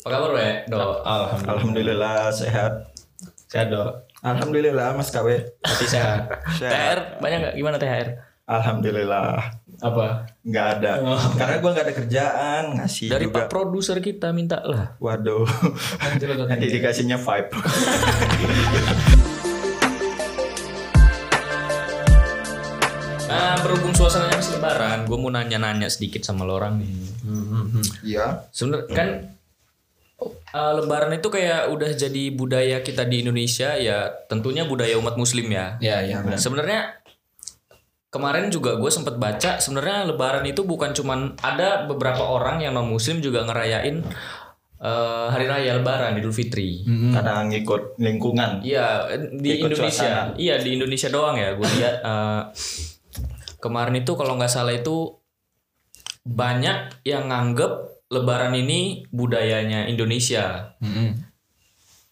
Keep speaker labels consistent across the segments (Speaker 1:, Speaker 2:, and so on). Speaker 1: Apa kabar, We? Dok.
Speaker 2: Alhamdulillah.
Speaker 3: Alhamdulillah sehat.
Speaker 2: Sehat dok.
Speaker 3: Alhamdulillah Mas KW.
Speaker 2: Masih sehat.
Speaker 1: THR banyak nggak? Gimana THR?
Speaker 3: Alhamdulillah
Speaker 2: Apa?
Speaker 3: nggak ada. Karena gua nggak ada kerjaan ngasih
Speaker 1: Oh. Dari
Speaker 3: Iya juga.
Speaker 1: Pak Produser kita minta lah.
Speaker 3: Waduh.
Speaker 2: Lanjut, lanjut.
Speaker 3: Nanti dikasihnya vibe.
Speaker 1: Nah, berhubung suasananya masih lebaran, gue mau nanya-nanya sedikit sama lo orang nih.
Speaker 3: Iya.
Speaker 1: Sebenernya kan uh, lebaran itu kayak udah jadi budaya kita di Indonesia ya tentunya budaya umat muslim ya.
Speaker 2: Ya ya.
Speaker 1: Sebenarnya kemarin juga gue sempet baca sebenarnya lebaran itu bukan cuman ada beberapa orang yang non muslim juga ngerayain eh, hari raya lebaran Idul Fitri.
Speaker 3: Karena ngikut lingkungan.
Speaker 1: Iya eh, di
Speaker 3: Hmm. Ikut
Speaker 1: Indonesia. Iya di Indonesia doang ya gue lihat eh, kemarin itu kalau nggak salah itu banyak yang nganggep Lebaran ini budayanya Indonesia.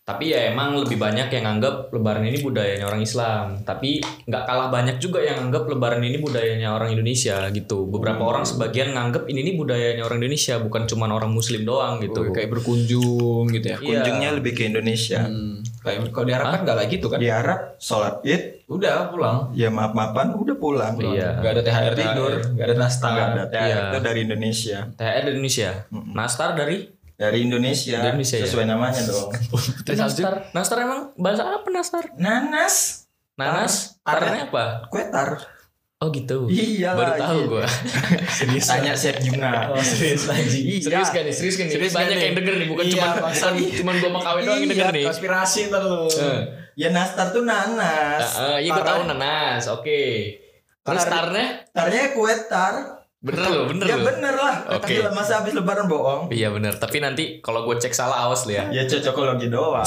Speaker 1: Tapi ya emang lebih banyak yang nganggep Lebaran ini budayanya orang Islam. Tapi nggak kalah banyak juga yang nganggep Lebaran ini budayanya orang Indonesia gitu. Beberapa
Speaker 2: Hmm.
Speaker 1: orang sebagian nganggep ini nih budayanya orang Indonesia bukan cuman orang Muslim doang gitu.
Speaker 2: Kayak berkunjung gitu ya.
Speaker 1: Iya.
Speaker 3: Kunjungnya lebih ke Indonesia.
Speaker 2: Hmm. Kayak kalau diharapkan nggak lagi tuh kan?
Speaker 3: Di Arab sholat id,
Speaker 2: Udah pulang.
Speaker 3: ya maaf maafan udah pulang.
Speaker 1: Iya.
Speaker 2: Gak ada THR tidur. Gak ada nastar.
Speaker 3: Nggak ada.
Speaker 1: Iya.
Speaker 3: Itu dari Indonesia.
Speaker 1: THR dari Indonesia.
Speaker 2: Hmm.
Speaker 1: Nastar dari
Speaker 3: Dari Indonesia.
Speaker 1: Indonesia, ya?
Speaker 3: Sesuai namanya dong.
Speaker 1: Nastar. Nastar emang bahasa apa Nastar?
Speaker 3: Nanas,
Speaker 1: Nanas?
Speaker 3: Tar-
Speaker 1: Tarnya apa?
Speaker 3: kuetar.
Speaker 1: Oh gitu.
Speaker 3: Iya
Speaker 1: Baru
Speaker 3: lagi.
Speaker 1: tahu gua.
Speaker 3: Serius. Tanya
Speaker 1: Oh,
Speaker 3: Chef Juna.
Speaker 2: serius lagi.
Speaker 1: serius kan nih? Serius kan nih?
Speaker 2: Serius
Speaker 1: banyak
Speaker 2: kan nih?
Speaker 1: yang denger nih, bukan
Speaker 2: Iya,
Speaker 1: cuma
Speaker 2: maksa.
Speaker 1: bukan cuman gua sama kawin doang yang denger nih.
Speaker 2: Iya, konspirasi terus.
Speaker 1: Eh,
Speaker 3: Ya nastar tuh nanas.
Speaker 1: eh, iya gua
Speaker 3: Tarnya-
Speaker 1: tahu nanas. Oke. Terus
Speaker 3: Tar-
Speaker 1: tarnya?
Speaker 3: Tarnya kuetar.
Speaker 1: Bener loh, bener
Speaker 3: Ya
Speaker 1: loh.
Speaker 3: bener lah.
Speaker 1: Oke.
Speaker 3: Kata gila, masa habis lebaran bohong.
Speaker 1: Iya bener. Tapi nanti kalau gua cek salah awas lu ya.
Speaker 3: Ya cocokologi doang.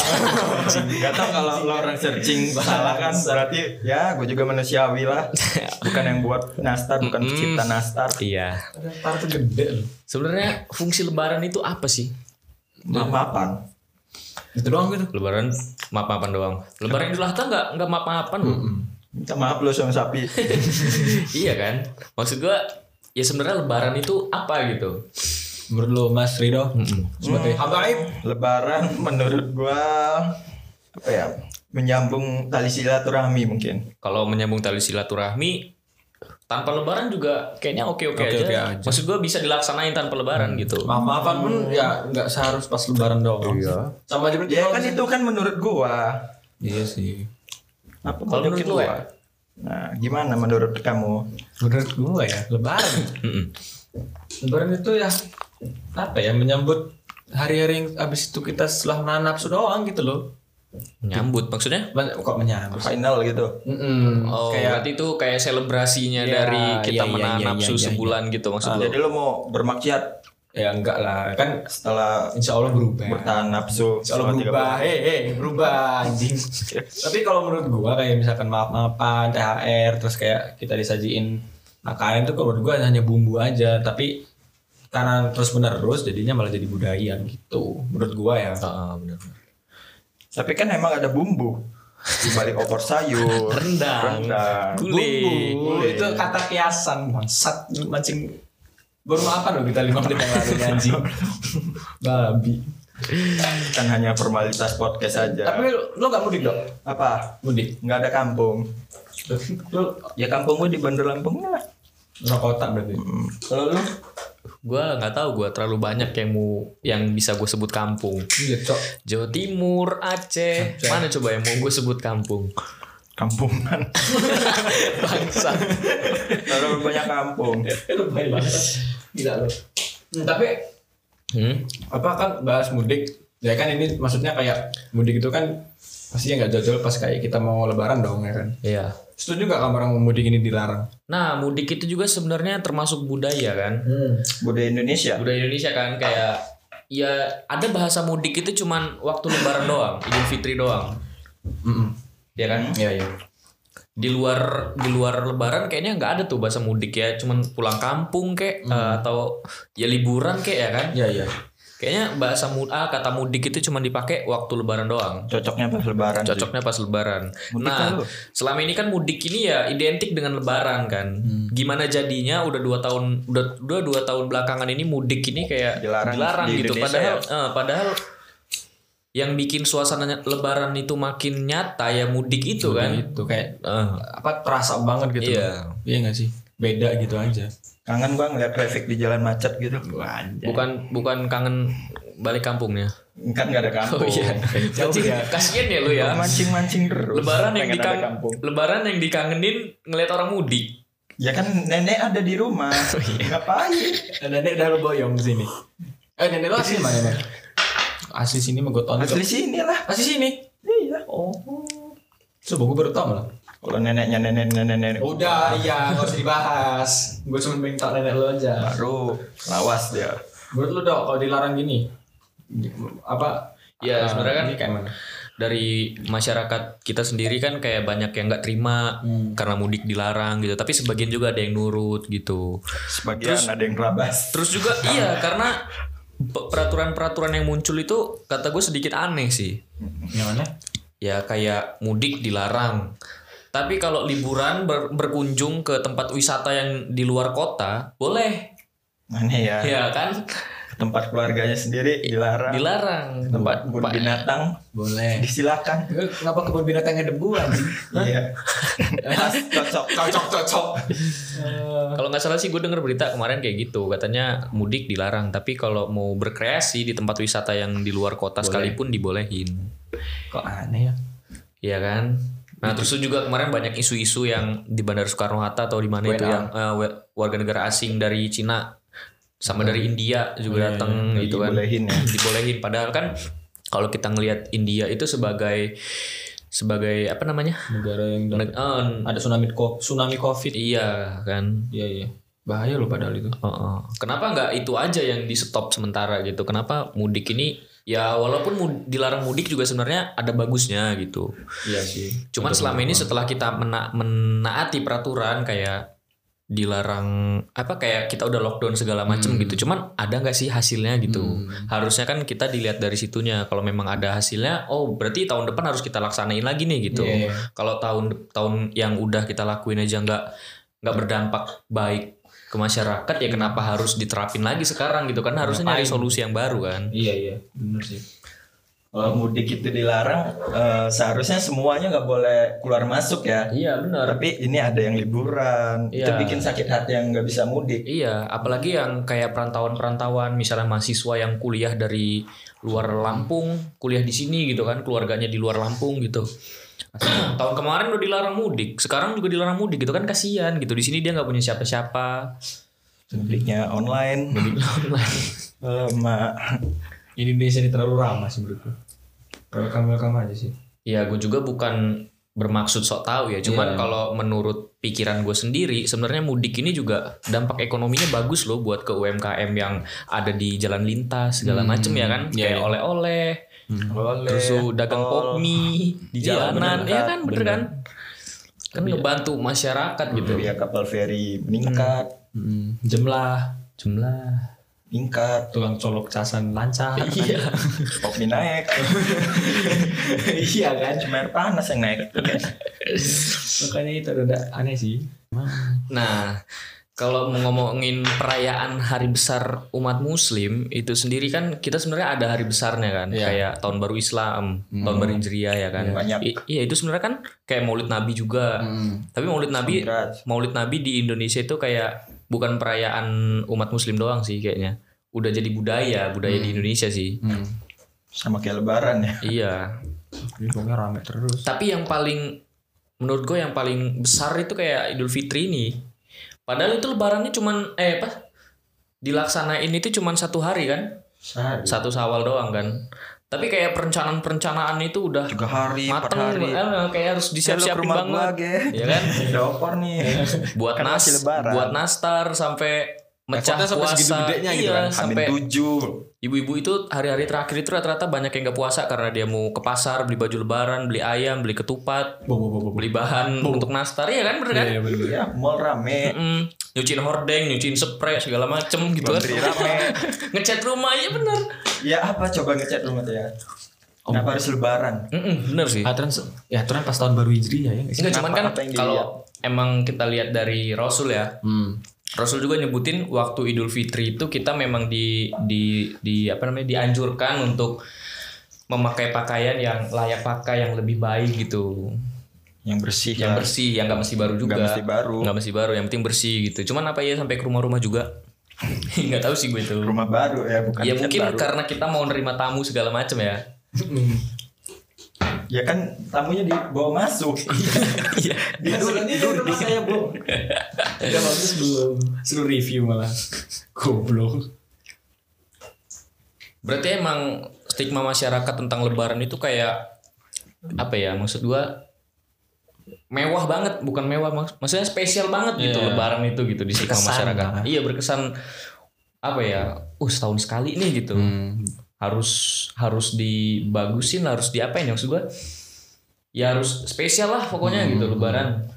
Speaker 3: Gak tau kalau lo orang searching salah kan berarti ya gue juga manusiawi lah. Bukan yang buat nastar, bukan
Speaker 1: Mm-mm.
Speaker 3: pencipta nastar.
Speaker 1: Iya.
Speaker 2: Ntar tuh gede loh.
Speaker 1: Sebenarnya fungsi lebaran itu apa sih?
Speaker 3: Maaf-maafan.
Speaker 2: Itu doang gitu.
Speaker 1: Lebaran map-mapan doang. Lebaran Idul Adha enggak enggak map-mapan loh.
Speaker 3: Minta maaf lo sama sapi.
Speaker 1: iya kan? Maksud gua ya sebenarnya lebaran itu apa gitu.
Speaker 2: Menurut lo Mas Rido sebagai habaib
Speaker 3: Lebaran menurut gua apa ya? Menyambung tali silaturahmi mungkin.
Speaker 1: kalau menyambung tali silaturahmi tanpa lebaran juga kayaknya oke-oke aja.
Speaker 2: Oke-oke aja. Mm. Ah.
Speaker 1: Maksud gua bisa dilaksanain tanpa lebaran gitu.
Speaker 2: maaf-maafan pun ya nggak seharus pas lebaran doang. Iya. Sama aja berarti
Speaker 3: Ya
Speaker 2: kalau
Speaker 3: kan itu kan menurut gua.
Speaker 2: Iya sih.
Speaker 3: Apa
Speaker 1: Kalau menurut lo, ya?
Speaker 3: Nah, gimana menurut kamu?
Speaker 2: Menurut gua ya lebaran.
Speaker 1: Mm-mm.
Speaker 2: lebaran itu ya apa ya menyambut hari-hari yang abis itu kita setelah menahan nafsu doang gitu loh.
Speaker 1: Nyambut maksudnya?
Speaker 2: Men- Kok menyambut?
Speaker 3: Final gitu.
Speaker 2: Mm-mm.
Speaker 1: Oh,
Speaker 2: kayak
Speaker 1: berarti itu kayak selebrasinya
Speaker 2: Iya,
Speaker 1: dari kita
Speaker 2: iya, iya,
Speaker 1: menahan
Speaker 2: iya,
Speaker 1: nafsu
Speaker 2: iya, iya.
Speaker 1: sebulan gitu maksud lo.
Speaker 3: Jadi lo mau bermaksiat
Speaker 2: ya enggak lah kan
Speaker 3: setelah
Speaker 2: insya Allah berubah.
Speaker 3: bertahan nafsu
Speaker 2: Kalau
Speaker 3: selama tiga
Speaker 2: berubah,
Speaker 3: bulan.
Speaker 2: eh eh berubah anjing. Tapi kalau menurut gua kayak misalkan maaf-maafan, THR, terus kayak kita disajiin makanan itu kalau menurut gua hanya bumbu aja, tapi karena terus menerus jadinya malah jadi budaya gitu. Menurut gua ya.
Speaker 1: Ah, benar.
Speaker 3: Tapi kan emang ada bumbu di balik opor sayur,
Speaker 1: Rendang.
Speaker 3: rendang.
Speaker 1: Gulai.
Speaker 2: Bumbu itu kata kiasan, bangsat mancing baru maafan loh kita lima menit yang lalu nih, anjing. Babi.
Speaker 3: Kan hanya formalitas podcast saja.
Speaker 2: Tapi lo, lo gak mudik dok?
Speaker 3: apa?
Speaker 2: Mudik.
Speaker 3: Nggak ada kampung.
Speaker 2: Lo
Speaker 3: Ya kampung gue di Bandar Lampung lah.
Speaker 2: rokotan berarti.
Speaker 3: Kalau lu
Speaker 1: Gua nggak tahu gua terlalu banyak yang mau yang bisa gue sebut kampung.
Speaker 2: Iya, cok.
Speaker 1: Jawa Timur, Aceh. Mana coba yang mau gue sebut kampung?
Speaker 3: kampungan.
Speaker 1: Bangsa.
Speaker 3: Kalau banyak kampung.
Speaker 2: Itu baik banget. Gila lo. Hmm, tapi
Speaker 1: Hmm?
Speaker 2: apa kan bahas mudik ya kan ini maksudnya kayak mudik itu kan pasti nggak jauh-jauh pas kayak kita mau lebaran dong ya kan
Speaker 1: Iya.
Speaker 2: setuju nggak kamu orang mau mudik ini dilarang
Speaker 1: Nah, mudik itu juga sebenarnya termasuk budaya kan?
Speaker 2: Hmm.
Speaker 3: Budaya Indonesia.
Speaker 1: budaya Indonesia kan kayak ya ada bahasa mudik itu cuman waktu lebaran doang, Idul Fitri doang. Ya kan?
Speaker 2: iya iya
Speaker 1: Di luar di luar lebaran kayaknya nggak ada tuh bahasa mudik ya, cuman pulang kampung kek eh, atau ya liburan kek ya kan?
Speaker 2: iya iya
Speaker 1: Kayaknya bahasa mud ah, kata mudik itu cuma dipakai waktu lebaran doang.
Speaker 3: Cocoknya pas lebaran. sih.
Speaker 1: Cocoknya pas lebaran.
Speaker 3: Mudik
Speaker 1: nah,
Speaker 3: kan lu?
Speaker 1: selama ini kan mudik ini ya identik dengan lebaran kan.
Speaker 3: Hmm.
Speaker 1: Gimana jadinya udah dua tahun udah, udah dua tahun belakangan ini mudik ini kayak
Speaker 3: Dilarang di
Speaker 1: gitu.
Speaker 3: Indonesia ya?
Speaker 1: Padahal eh, padahal yang bikin suasananya lebaran itu makin nyata ya mudik itu kan.
Speaker 2: Itu kayak
Speaker 1: Eh,
Speaker 2: apa terasa banget gitu.
Speaker 1: Iya.
Speaker 2: Iya nggak sih? Beda gitu aja.
Speaker 3: Kangen gua ngeliat traffic di jalan macet gitu.
Speaker 1: bukan bukan kangen balik kampungnya.
Speaker 3: Kan gak ada
Speaker 1: Oh,
Speaker 3: kampung.
Speaker 1: iya.
Speaker 3: Jauh
Speaker 1: Anjing,
Speaker 3: ya.
Speaker 1: Kasian ya lu ya.
Speaker 3: Mancing-mancing terus.
Speaker 1: Lebaran yang
Speaker 3: Pengen ada
Speaker 1: dikang-
Speaker 3: kampung.
Speaker 1: Lebaran yang dikangenin ngeliat orang mudik.
Speaker 3: Ya kan nenek ada di rumah.
Speaker 1: Oh, iya.
Speaker 3: Ngapain?
Speaker 2: Dan Eh, nenek udah lu boyong sini. Eh nenek lu asli mana? Bang? Asli sini mah
Speaker 1: Oh,
Speaker 2: gue tonjok.
Speaker 3: Asli sini lah.
Speaker 2: Asli sini.
Speaker 3: Iya. Oh.
Speaker 2: Coba gue baru tau malah.
Speaker 3: Kalau neneknya nenek nenek nenek.
Speaker 1: Oh.
Speaker 2: Udah, iya, gak usah dibahas. Gue cuma pengen tau nenek lo aja.
Speaker 3: Baru lawas dia.
Speaker 2: Menurut lo dok, kalau dilarang gini, apa?
Speaker 1: Ya,
Speaker 2: eh,
Speaker 1: sebenarnya kan-
Speaker 2: ini kayak mana?
Speaker 1: dari masyarakat kita sendiri kan kayak banyak yang nggak terima
Speaker 3: Hmm.
Speaker 1: karena mudik dilarang gitu tapi sebagian juga ada yang nurut gitu
Speaker 3: Sebagian ada yang rabas.
Speaker 1: terus juga iya karena pe- peraturan-peraturan yang muncul itu kata gue sedikit aneh sih
Speaker 2: Yang mana?
Speaker 1: ya kayak mudik dilarang tapi kalau liburan ber- berkunjung ke tempat wisata yang di luar kota boleh
Speaker 3: Mana ya?
Speaker 1: ya kan
Speaker 3: Tempat keluarganya sendiri
Speaker 1: Iya.
Speaker 3: dilarang.
Speaker 1: dilarang
Speaker 3: Kan Tempat kebun binatang eh,
Speaker 2: Boleh.
Speaker 3: disilakan.
Speaker 2: Gue ngapa kebun binatangnya debu anjing?
Speaker 3: Iya. Pas cocok. Gitu
Speaker 2: cocok cocok. Eh,
Speaker 1: Kalau nggak salah sih gue denger berita kemarin kayak gitu katanya mudik dilarang tapi kalau mau berkreasi di tempat wisata yang di luar kota sekalipun dibolehin,
Speaker 3: Kok aneh ya?
Speaker 1: Iya kan? Nah terus juga kemarin banyak isu-isu yang di Bandar Soekarno Hatta atau di mana itu yang eh, wa- warga negara asing dari Cina sama dari India juga datang gitu kan?
Speaker 3: Dibolehin ya.
Speaker 1: Dibolehin padahal kan kalau kita ngelihat India itu sebagai sebagai apa namanya?
Speaker 2: Negara yang
Speaker 1: Neg-
Speaker 2: dapat-
Speaker 1: eh,
Speaker 2: ada tsunami ko tsunami covid.
Speaker 1: iya kan?
Speaker 2: Iya iya. Bahaya loh padahal itu.
Speaker 1: Heeh. Kenapa nggak itu aja yang di stop sementara gitu? Kenapa mudik ini ya walaupun mud- dilarang mudik juga sebenarnya ada bagusnya gitu.
Speaker 2: Iya sih.
Speaker 1: Cuman selama ini setelah kita mena- menaati peraturan kayak dilarang apa kayak kita udah lockdown segala macem
Speaker 2: Hmm.
Speaker 1: gitu. Cuman ada nggak sih hasilnya gitu? Harusnya kan kita dilihat dari situnya. Kalau memang ada hasilnya, oh berarti tahun depan harus kita laksanain lagi nih gitu.
Speaker 2: Iya, iya.
Speaker 1: Kalau tahun tahun yang udah kita lakuin aja nggak nggak berdampak baik ke masyarakat ya kenapa harus diterapin lagi sekarang gitu kan harusnya nyari solusi yang baru kan
Speaker 2: Iya iya. Bener sih.
Speaker 3: Kalau mudik itu dilarang, eh, seharusnya semuanya nggak boleh keluar masuk ya.
Speaker 1: iya benar
Speaker 3: Tapi ini ada yang liburan, itu
Speaker 1: Iya.
Speaker 3: bikin sakit hati yang nggak bisa mudik.
Speaker 1: Iya, apalagi yang kayak perantauan-perantauan, misalnya mahasiswa yang kuliah dari luar Lampung, kuliah di sini gitu kan, keluarganya di luar Lampung gitu. Tahun kemarin udah dilarang mudik, sekarang juga dilarang mudik gitu kan kasihan gitu. Di sini dia nggak punya siapa-siapa.
Speaker 3: Mudiknya online, Eh, lama.
Speaker 2: Indonesia ini terlalu ramah sih menurutku. Welcome welcome aja sih.
Speaker 1: ya gue juga bukan bermaksud sok tahu ya,
Speaker 2: Iya.
Speaker 1: cuman kalau menurut pikiran gue sendiri, sebenarnya mudik ini juga dampak ekonominya bagus loh buat ke UMKM yang ada di jalan lintas segala macem ya kan,
Speaker 2: iya,
Speaker 1: kayak
Speaker 2: iya. Hmm.
Speaker 1: oleh-oleh. Terus lu dagang
Speaker 3: tol.
Speaker 1: popmi di
Speaker 2: Iya,
Speaker 1: jalanan,
Speaker 2: bener.
Speaker 1: iya kan bener, kan? Kan ngebantu masyarakat gitu.
Speaker 3: Biaya ya, kapal feri meningkat,
Speaker 2: Hmm, jemlah
Speaker 1: Jumlah.
Speaker 3: meningkat,
Speaker 2: tukang colok casan lancar.
Speaker 1: Iya.
Speaker 3: kopi naik,
Speaker 2: iya kan.
Speaker 3: cuma air panas yang naik.
Speaker 2: Makanya itu rada aneh sih.
Speaker 1: Nah, kalau mau ngomongin perayaan hari besar umat muslim itu sendiri kan kita sebenarnya ada hari besarnya kan
Speaker 2: Iya. Hmm.
Speaker 1: kayak tahun baru Islam, tahun baru Hijriah ya kan.
Speaker 3: Banyak.
Speaker 1: I- iya, itu sebenarnya kan kayak Maulid Nabi juga.
Speaker 2: Hmm.
Speaker 1: Tapi Maulid Nabi
Speaker 3: Berat.
Speaker 1: Maulid Nabi di Indonesia itu kayak bukan perayaan umat muslim doang sih kayaknya. Udah jadi budaya, budaya di Indonesia sih.
Speaker 2: Hmm.
Speaker 3: Sama kayak lebaran ya.
Speaker 1: Iya.
Speaker 2: Ini pokoknya rame terus.
Speaker 1: Tapi yang paling menurut gue yang paling besar itu kayak Idul Fitri ini. Padahal itu lebarannya cuman eh apa? Dilaksanain itu cuman satu hari kan?
Speaker 3: Sehari.
Speaker 1: Satu sawal doang kan. Tapi kayak perencanaan-perencanaan itu udah
Speaker 3: Juga hari, per
Speaker 1: mateng
Speaker 3: hari.
Speaker 1: eh, kayak harus disiap-siapin
Speaker 3: rumah gua,
Speaker 1: banget.
Speaker 3: Ge.
Speaker 1: Ya kan?
Speaker 3: Ada opor nih.
Speaker 1: Buat
Speaker 3: Kan
Speaker 1: nas
Speaker 3: masih lebaran.
Speaker 1: buat nastar sampai mecah
Speaker 2: Repotnya sampai
Speaker 1: puasa
Speaker 2: segitu-gedenya gitu
Speaker 1: Iya,
Speaker 2: kan.
Speaker 3: Hamin
Speaker 1: sampai
Speaker 3: tujuh
Speaker 1: ibu-ibu itu hari-hari terakhir itu rata-rata banyak yang nggak puasa karena dia mau ke pasar beli baju lebaran beli ayam beli ketupat
Speaker 2: Bo, bo, bo, bo, bo.
Speaker 1: beli bahan untuk nastar ya kan bener kan
Speaker 2: Iya, iya, bener, bener.
Speaker 3: ya mall rame
Speaker 1: Mm, nyuciin hordeng nyuciin spray segala macem gitu kan
Speaker 3: Laundry rame.
Speaker 1: ngecat rumah iya bener
Speaker 3: ya apa coba ngecat rumah tuh ya kenapa harus lebaran
Speaker 1: Mm-mm, bener sih
Speaker 2: Aturan se- ya aturan pas tahun baru Hijriah ya. nggak sih?
Speaker 1: Enggak cuman kan
Speaker 3: Kenapa? Apa yang
Speaker 1: kalau emang kita lihat dari Rasul ya
Speaker 2: Hmm.
Speaker 1: Rasul juga nyebutin waktu Idul Fitri itu kita memang di di di apa namanya dianjurkan untuk memakai pakaian yang layak pakai yang lebih baik gitu
Speaker 3: yang bersih
Speaker 1: yang
Speaker 3: lah.
Speaker 1: bersih yang nggak mesti baru juga
Speaker 3: Iya. Nggak mesti baru.
Speaker 1: nggak mesti baru yang penting bersih gitu cuman apa ya sampai ke rumah-rumah juga nggak tahu sih gue itu
Speaker 3: rumah baru ya bukan
Speaker 1: ya
Speaker 3: cat
Speaker 1: mungkin
Speaker 3: baru.
Speaker 1: karena kita mau nerima tamu segala macam ya
Speaker 3: ya kan tamunya dibawa masuk
Speaker 1: iya
Speaker 2: Dia dulu ini di rumah saya, Bu. Udah bagus belum? Suruh review malah. Goblok.
Speaker 1: Berarti emang stigma masyarakat tentang lebaran itu kayak apa ya maksud gua mewah banget bukan mewah maks- maksudnya spesial banget gitu
Speaker 2: Iya.
Speaker 1: lebaran itu gitu di stigma
Speaker 2: Berkesan
Speaker 1: masyarakat.
Speaker 2: lah.
Speaker 1: Iya berkesan apa ya? Uh setahun sekali nih gitu.
Speaker 2: Hmm.
Speaker 1: Harus harus dibagusin, harus diapain ya maksud gua? Ya harus spesial lah
Speaker 2: Hmm.
Speaker 1: pokoknya gitu lebaran.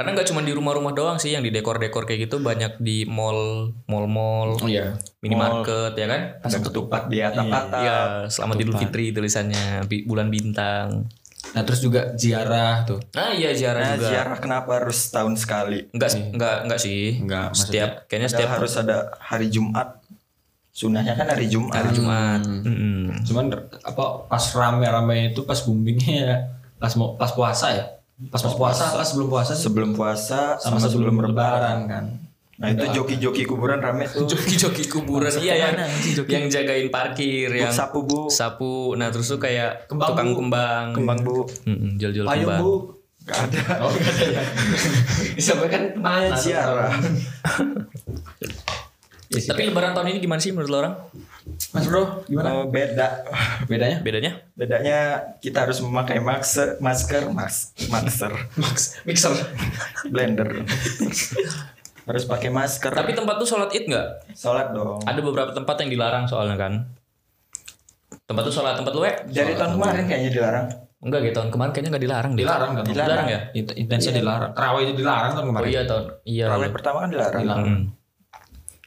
Speaker 1: Karena nggak cuma di rumah-rumah doang sih yang di dekor-dekor kayak gitu banyak di mall, mall-mall,
Speaker 2: Oh iya.
Speaker 1: minimarket ya kan?
Speaker 3: pas ketupat di atap-atap
Speaker 1: Iya, selamat Idul Fitri tulisannya bi- bulan bintang.
Speaker 2: Nah, terus juga ziarah tuh.
Speaker 1: Ah iya
Speaker 3: Nah,
Speaker 1: ziarah juga. Iya.
Speaker 3: ziarah kenapa harus setahun sekali?
Speaker 1: Enggak sih, enggak enggak sih.
Speaker 2: Enggak, maksudnya-
Speaker 1: setiap kayaknya
Speaker 3: Padahal
Speaker 1: setiap hari
Speaker 3: harus ada hari Jumat. Sunahnya kan hari Jumat.
Speaker 1: Jumat. Mm-mm.
Speaker 2: Cuman apa pas rame-rame itu pas boomingnya ya. Pas mau pas puasa ya. Pas mau puasa, pas sebelum puasa sih.
Speaker 3: Sebelum puasa sama,
Speaker 2: Sama
Speaker 3: sebelum,
Speaker 2: sebelum
Speaker 3: lebaran kan. Nah, itu
Speaker 1: Iya.
Speaker 3: joki-joki kuburan rame tuh.
Speaker 1: Joki-joki kuburan iya yang, yang jagain parkir yang
Speaker 3: Sapu Bu,
Speaker 1: sapu. Nah, terus tuh kayak
Speaker 2: Kembang,
Speaker 1: tukang
Speaker 2: Bu.
Speaker 1: kembang.
Speaker 3: kembang Bu.
Speaker 1: Mm-mm, jual-jual
Speaker 2: Payung,
Speaker 1: kembang.
Speaker 2: Bu.
Speaker 3: Gak ada.
Speaker 2: Oh, enggak ada ya. Sampai kan kemarin
Speaker 3: Ziarah.
Speaker 1: Iya, Tapi lebaran tahun ini gimana sih menurut lo orang?
Speaker 2: Mas Bro,
Speaker 3: Eh,
Speaker 2: gimana?
Speaker 3: beda
Speaker 2: Bedanya?
Speaker 1: Bedanya?
Speaker 3: bedanya kita harus memakai masker masker mas masker
Speaker 2: Max, mixer.
Speaker 3: blender harus pakai masker
Speaker 1: Tapi tempat tuh sholat Id enggak?
Speaker 3: sholat dong
Speaker 1: Ada beberapa tempat yang dilarang soalnya kan. Tempat tuh sholat tempat lu ya?
Speaker 3: dari tahun kemarin kayaknya dilarang
Speaker 1: Enggak gitu tahun kemarin kayaknya enggak dilarang deh.
Speaker 2: Dilarang Iya. kan?
Speaker 1: Dilarang ya?
Speaker 2: Int- Intensnya dilarang. Terawih itu dilarang tahun
Speaker 1: Oh
Speaker 2: kemarin.
Speaker 1: iya tahun iya.
Speaker 3: Terawih pertama kan dilarang
Speaker 1: Mm.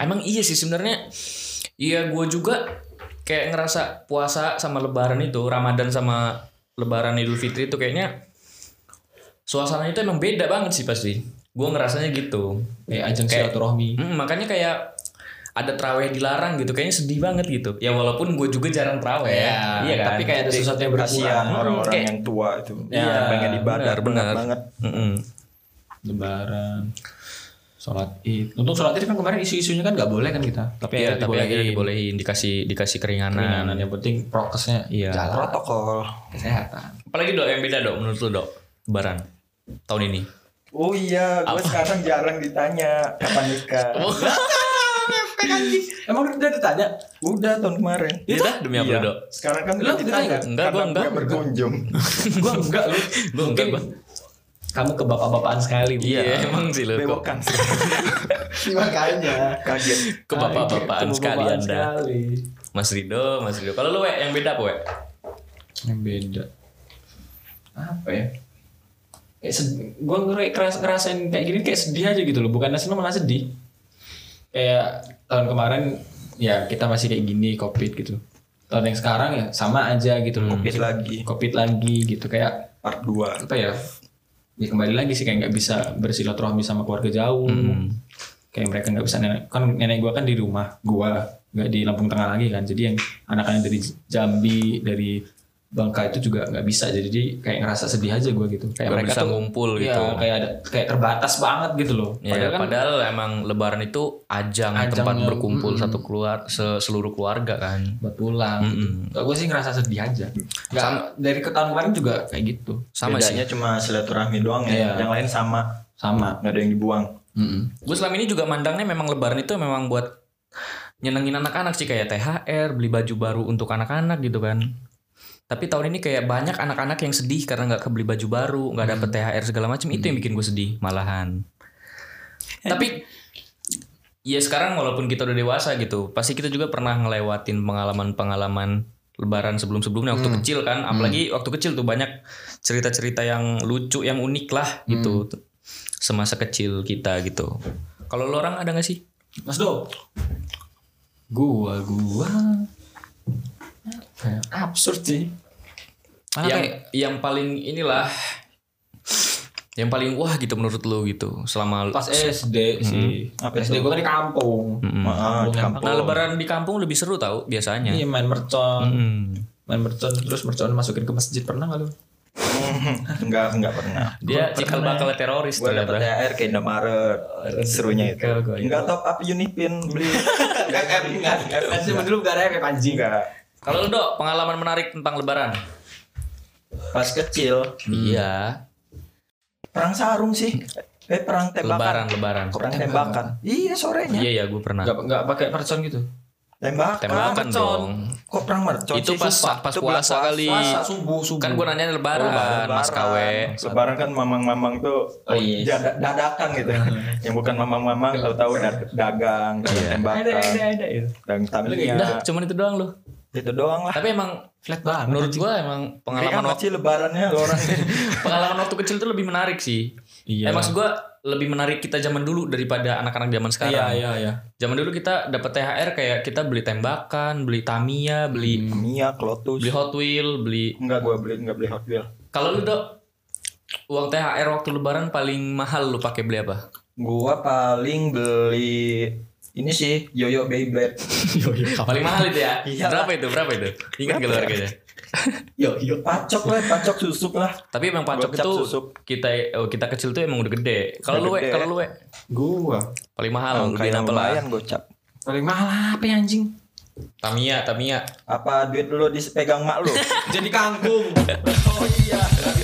Speaker 1: Emang iya sih sebenarnya. Iya gue juga kayak ngerasa puasa sama Lebaran itu Ramadan sama Lebaran Idul Fitri itu kayaknya suasananya itu emang beda banget sih pasti. Gue ngerasanya gitu.
Speaker 2: Kayak ajang
Speaker 1: Kayak-
Speaker 2: silaturahmi.
Speaker 1: Mm, makanya kayak ada terawih dilarang gitu kayaknya sedih banget gitu ya walaupun gue juga jarang terawih iya kan
Speaker 2: Tapi kayak ada sesuatu yang
Speaker 3: kasihan
Speaker 2: berkurang.
Speaker 3: orang-orang
Speaker 1: kayak-
Speaker 3: yang tua itu
Speaker 2: Iya,
Speaker 3: yang pengen ibadah
Speaker 1: Ya, benar,
Speaker 3: benar
Speaker 1: benar.
Speaker 3: banget
Speaker 1: Mm-mm.
Speaker 2: Lebaran. Sholat Id. Untuk sholat Id kan kemarin isu-isunya kan nggak boleh kan kita. Tapi
Speaker 1: Iya,
Speaker 2: ya,
Speaker 1: tapi akhirnya
Speaker 2: dibolehin.
Speaker 1: dibolehin dikasih dikasih keringanan,
Speaker 2: Keringanan Nah, yang penting
Speaker 1: Hmm.
Speaker 2: prokesnya
Speaker 1: Iya.
Speaker 2: jalan
Speaker 3: protokol
Speaker 2: kesehatan.
Speaker 1: apalagi dok yang beda dok menurut lu dok lebaran tahun ini
Speaker 3: oh iya gue sekarang jarang ditanya kapan nikah
Speaker 1: Oh.
Speaker 2: Emang udah ditanya?
Speaker 3: udah tahun kemarin
Speaker 1: Iya dah demi apa
Speaker 3: Iya.
Speaker 1: dok
Speaker 3: sekarang kan
Speaker 2: Lu
Speaker 3: gak ditanya
Speaker 2: ditanya?
Speaker 1: Enggak,
Speaker 3: karena
Speaker 1: gua enggak.
Speaker 3: gue berkunjung
Speaker 2: gua enggak lu.
Speaker 1: Gua enggak, gua.
Speaker 2: Kamu ke bapak-bapaan sekali. Bu.
Speaker 1: iya emang sih lu kok
Speaker 3: bewokan makanya kaget
Speaker 1: ke bapak-bapaan
Speaker 2: Ke
Speaker 1: iya. sekali
Speaker 2: bapak-bapaan
Speaker 1: anda
Speaker 2: sekali.
Speaker 1: mas Rido mas Rido kalau lu Wek, yang beda apa Wek?
Speaker 2: Yang beda. Apa ya? Kayak sed- gua ngeri- keras ngerasain kayak gini kayak sedih aja gitu loh. Bukannya seneng malah sedih. Kayak tahun kemarin ya kita masih kayak gini covid gitu. Tahun yang sekarang ya sama aja gitu
Speaker 1: Hmm.
Speaker 2: loh.
Speaker 3: Covid lagi.
Speaker 2: Covid lagi gitu kayak
Speaker 3: part 2
Speaker 2: apa ya? Ya kembali lagi sih kayak nggak bisa bersilaturahmi sama keluarga jauh.
Speaker 1: Hmm.
Speaker 2: Kayak mereka nggak bisa nenek kan nenek gua kan di rumah gua nggak di Lampung Tengah lagi kan. Jadi yang anak-anak dari Jambi dari Bangka itu juga nggak bisa. Jadi kayak ngerasa sedih aja gua gitu.
Speaker 1: Nggak
Speaker 2: Kayak mereka
Speaker 1: bisa
Speaker 2: tuh-
Speaker 1: ngumpul
Speaker 2: Iya,
Speaker 1: gitu.
Speaker 2: kayak ada- kayak terbatas banget gitu loh.
Speaker 1: Ya, padahal, emang lebaran itu ajang
Speaker 2: Ajang
Speaker 1: tempat
Speaker 2: yang-
Speaker 1: berkumpul satu keluar se- seluruh keluarga kan
Speaker 2: buat pulang. Gue sih ngerasa sedih aja. Nggak- dari ke tahun kemarin juga kayak gitu.
Speaker 1: sama
Speaker 3: bedanya
Speaker 1: sih
Speaker 3: cuma silaturahmi doang
Speaker 2: Iya.
Speaker 3: ya yang lain sama
Speaker 2: Sama.
Speaker 3: nggak ada yang dibuang
Speaker 2: Mm-mm.
Speaker 1: gue selama ini juga mandangnya memang lebaran itu memang buat nyenengin anak-anak sih kayak THR beli baju baru untuk anak-anak gitu kan tapi tahun ini kayak banyak anak-anak yang sedih karena nggak kebeli baju baru nggak dapet THR segala macam itu yang bikin gue sedih malahan tapi ya sekarang walaupun kita udah dewasa gitu, pasti kita juga pernah ngelewatin pengalaman-pengalaman lebaran sebelum-sebelumnya waktu kecil kan, apalagi waktu kecil tuh banyak cerita-cerita yang lucu, yang unik lah gitu. Semasa kecil kita gitu. Kalau lo orang ada gak sih?
Speaker 2: Mas Do.
Speaker 4: Gua, gua. Apa ya? Absurd sih. Mana
Speaker 1: yang
Speaker 4: kayak-
Speaker 1: yang paling inilah yang paling wah gitu menurut lo gitu selama
Speaker 2: Pas eh, SD sih.
Speaker 3: Apa
Speaker 2: SD gue kan di kampung.
Speaker 1: Hmm.
Speaker 3: Ah, di kampung.
Speaker 1: Nah, lebaran di kampung lebih seru tau biasanya.
Speaker 2: Iya main mercon.
Speaker 1: Ya. Hmm.
Speaker 2: Main mercon terus mercon masukin ke masjid pernah gak lu?
Speaker 3: Enggak, enggak pernah.
Speaker 1: Dia cikal bakal teroris
Speaker 3: Gue dapet ya.
Speaker 1: ternyata.
Speaker 3: THR ke Indomaret Serunya itu
Speaker 1: ya.
Speaker 2: Gua- gua-
Speaker 3: Enggak top up Unipin Beli
Speaker 2: FF enggak. FF zaman dulu enggak ada FF anjing.
Speaker 3: Enggak
Speaker 1: Kalau lo dok pengalaman menarik tentang lebaran?
Speaker 3: Pas kecil
Speaker 1: Iya.
Speaker 3: Perang sarung sih Eh perang
Speaker 1: Lebaran
Speaker 3: tembakan
Speaker 1: lebaran.
Speaker 3: Perang tembakan Iya sorenya
Speaker 1: Iya iya gue pernah.
Speaker 2: Enggak enggak pakai mercon gitu.
Speaker 3: Tembakan
Speaker 1: Tembakan dong.
Speaker 3: Kok perang mercon
Speaker 1: Itu
Speaker 3: sih?
Speaker 1: pas
Speaker 3: Sumpah.
Speaker 1: pas
Speaker 3: Itu bulan
Speaker 1: puasa kali.
Speaker 2: subuh subuh.
Speaker 1: Kan gue nanya lebaran, Mas Kawe.
Speaker 3: Lebaran kan mamang-mamang tuh
Speaker 2: Oh, iya.
Speaker 3: jada- dadakan gitu. Yang bukan mamang-mamang tahu-tahu da- dagang, dagang
Speaker 1: Iya.
Speaker 3: tembakan,
Speaker 2: ada ya. itu.
Speaker 3: dagang Tamiya.
Speaker 1: Udah cuman itu doang lo.
Speaker 3: gitu. Itu doang lah.
Speaker 1: Tapi emang
Speaker 2: Flat banget.
Speaker 1: menurut gue emang
Speaker 3: Kayak
Speaker 1: pengalaman waktu
Speaker 3: masih lebarannya lo orang.
Speaker 1: pengalaman waktu kecil tuh lebih menarik sih. Eh
Speaker 2: Iya.
Speaker 1: maksud gue lebih menarik kita zaman dulu daripada anak-anak zaman sekarang.
Speaker 2: Iya iya iya.
Speaker 1: Zaman dulu kita dapat THR kayak kita beli tembakan, beli Tamiya, beli
Speaker 3: Mia, Lotus.
Speaker 1: beli Hot Wheel, beli
Speaker 3: Enggak gue beli, enggak beli Hot Wheels.
Speaker 1: Kalau lu dok uang THR waktu lebaran paling mahal lu pakai beli apa?
Speaker 3: Gua paling beli ini sih Yoyo Beyblade.
Speaker 1: Paling mahal itu ya.
Speaker 3: Iya. ya?
Speaker 1: Berapa itu? Berapa itu? Ingat gak lu harganya?
Speaker 2: Yo yo.
Speaker 3: Pacok lah, pacok susuk lah.
Speaker 1: Tapi emang
Speaker 3: Gua
Speaker 1: pacok
Speaker 3: cap
Speaker 1: itu
Speaker 3: susuk.
Speaker 1: kita oh, kita kecil tuh emang udah gede. Kalau
Speaker 3: Udah
Speaker 1: lu we,
Speaker 3: gede.
Speaker 1: kalau lu we
Speaker 2: Gua.
Speaker 1: paling mahal
Speaker 3: Angka
Speaker 1: lebih
Speaker 3: yang
Speaker 1: apa lah?
Speaker 3: Ah, Nah, lumayan gocap.
Speaker 2: Paling mahal apa ya anjing?
Speaker 1: Tamiya, Tamiya.
Speaker 3: Apa duit lu dipegang mak lu?
Speaker 2: Jadi kangkung.
Speaker 3: oh iya. ya?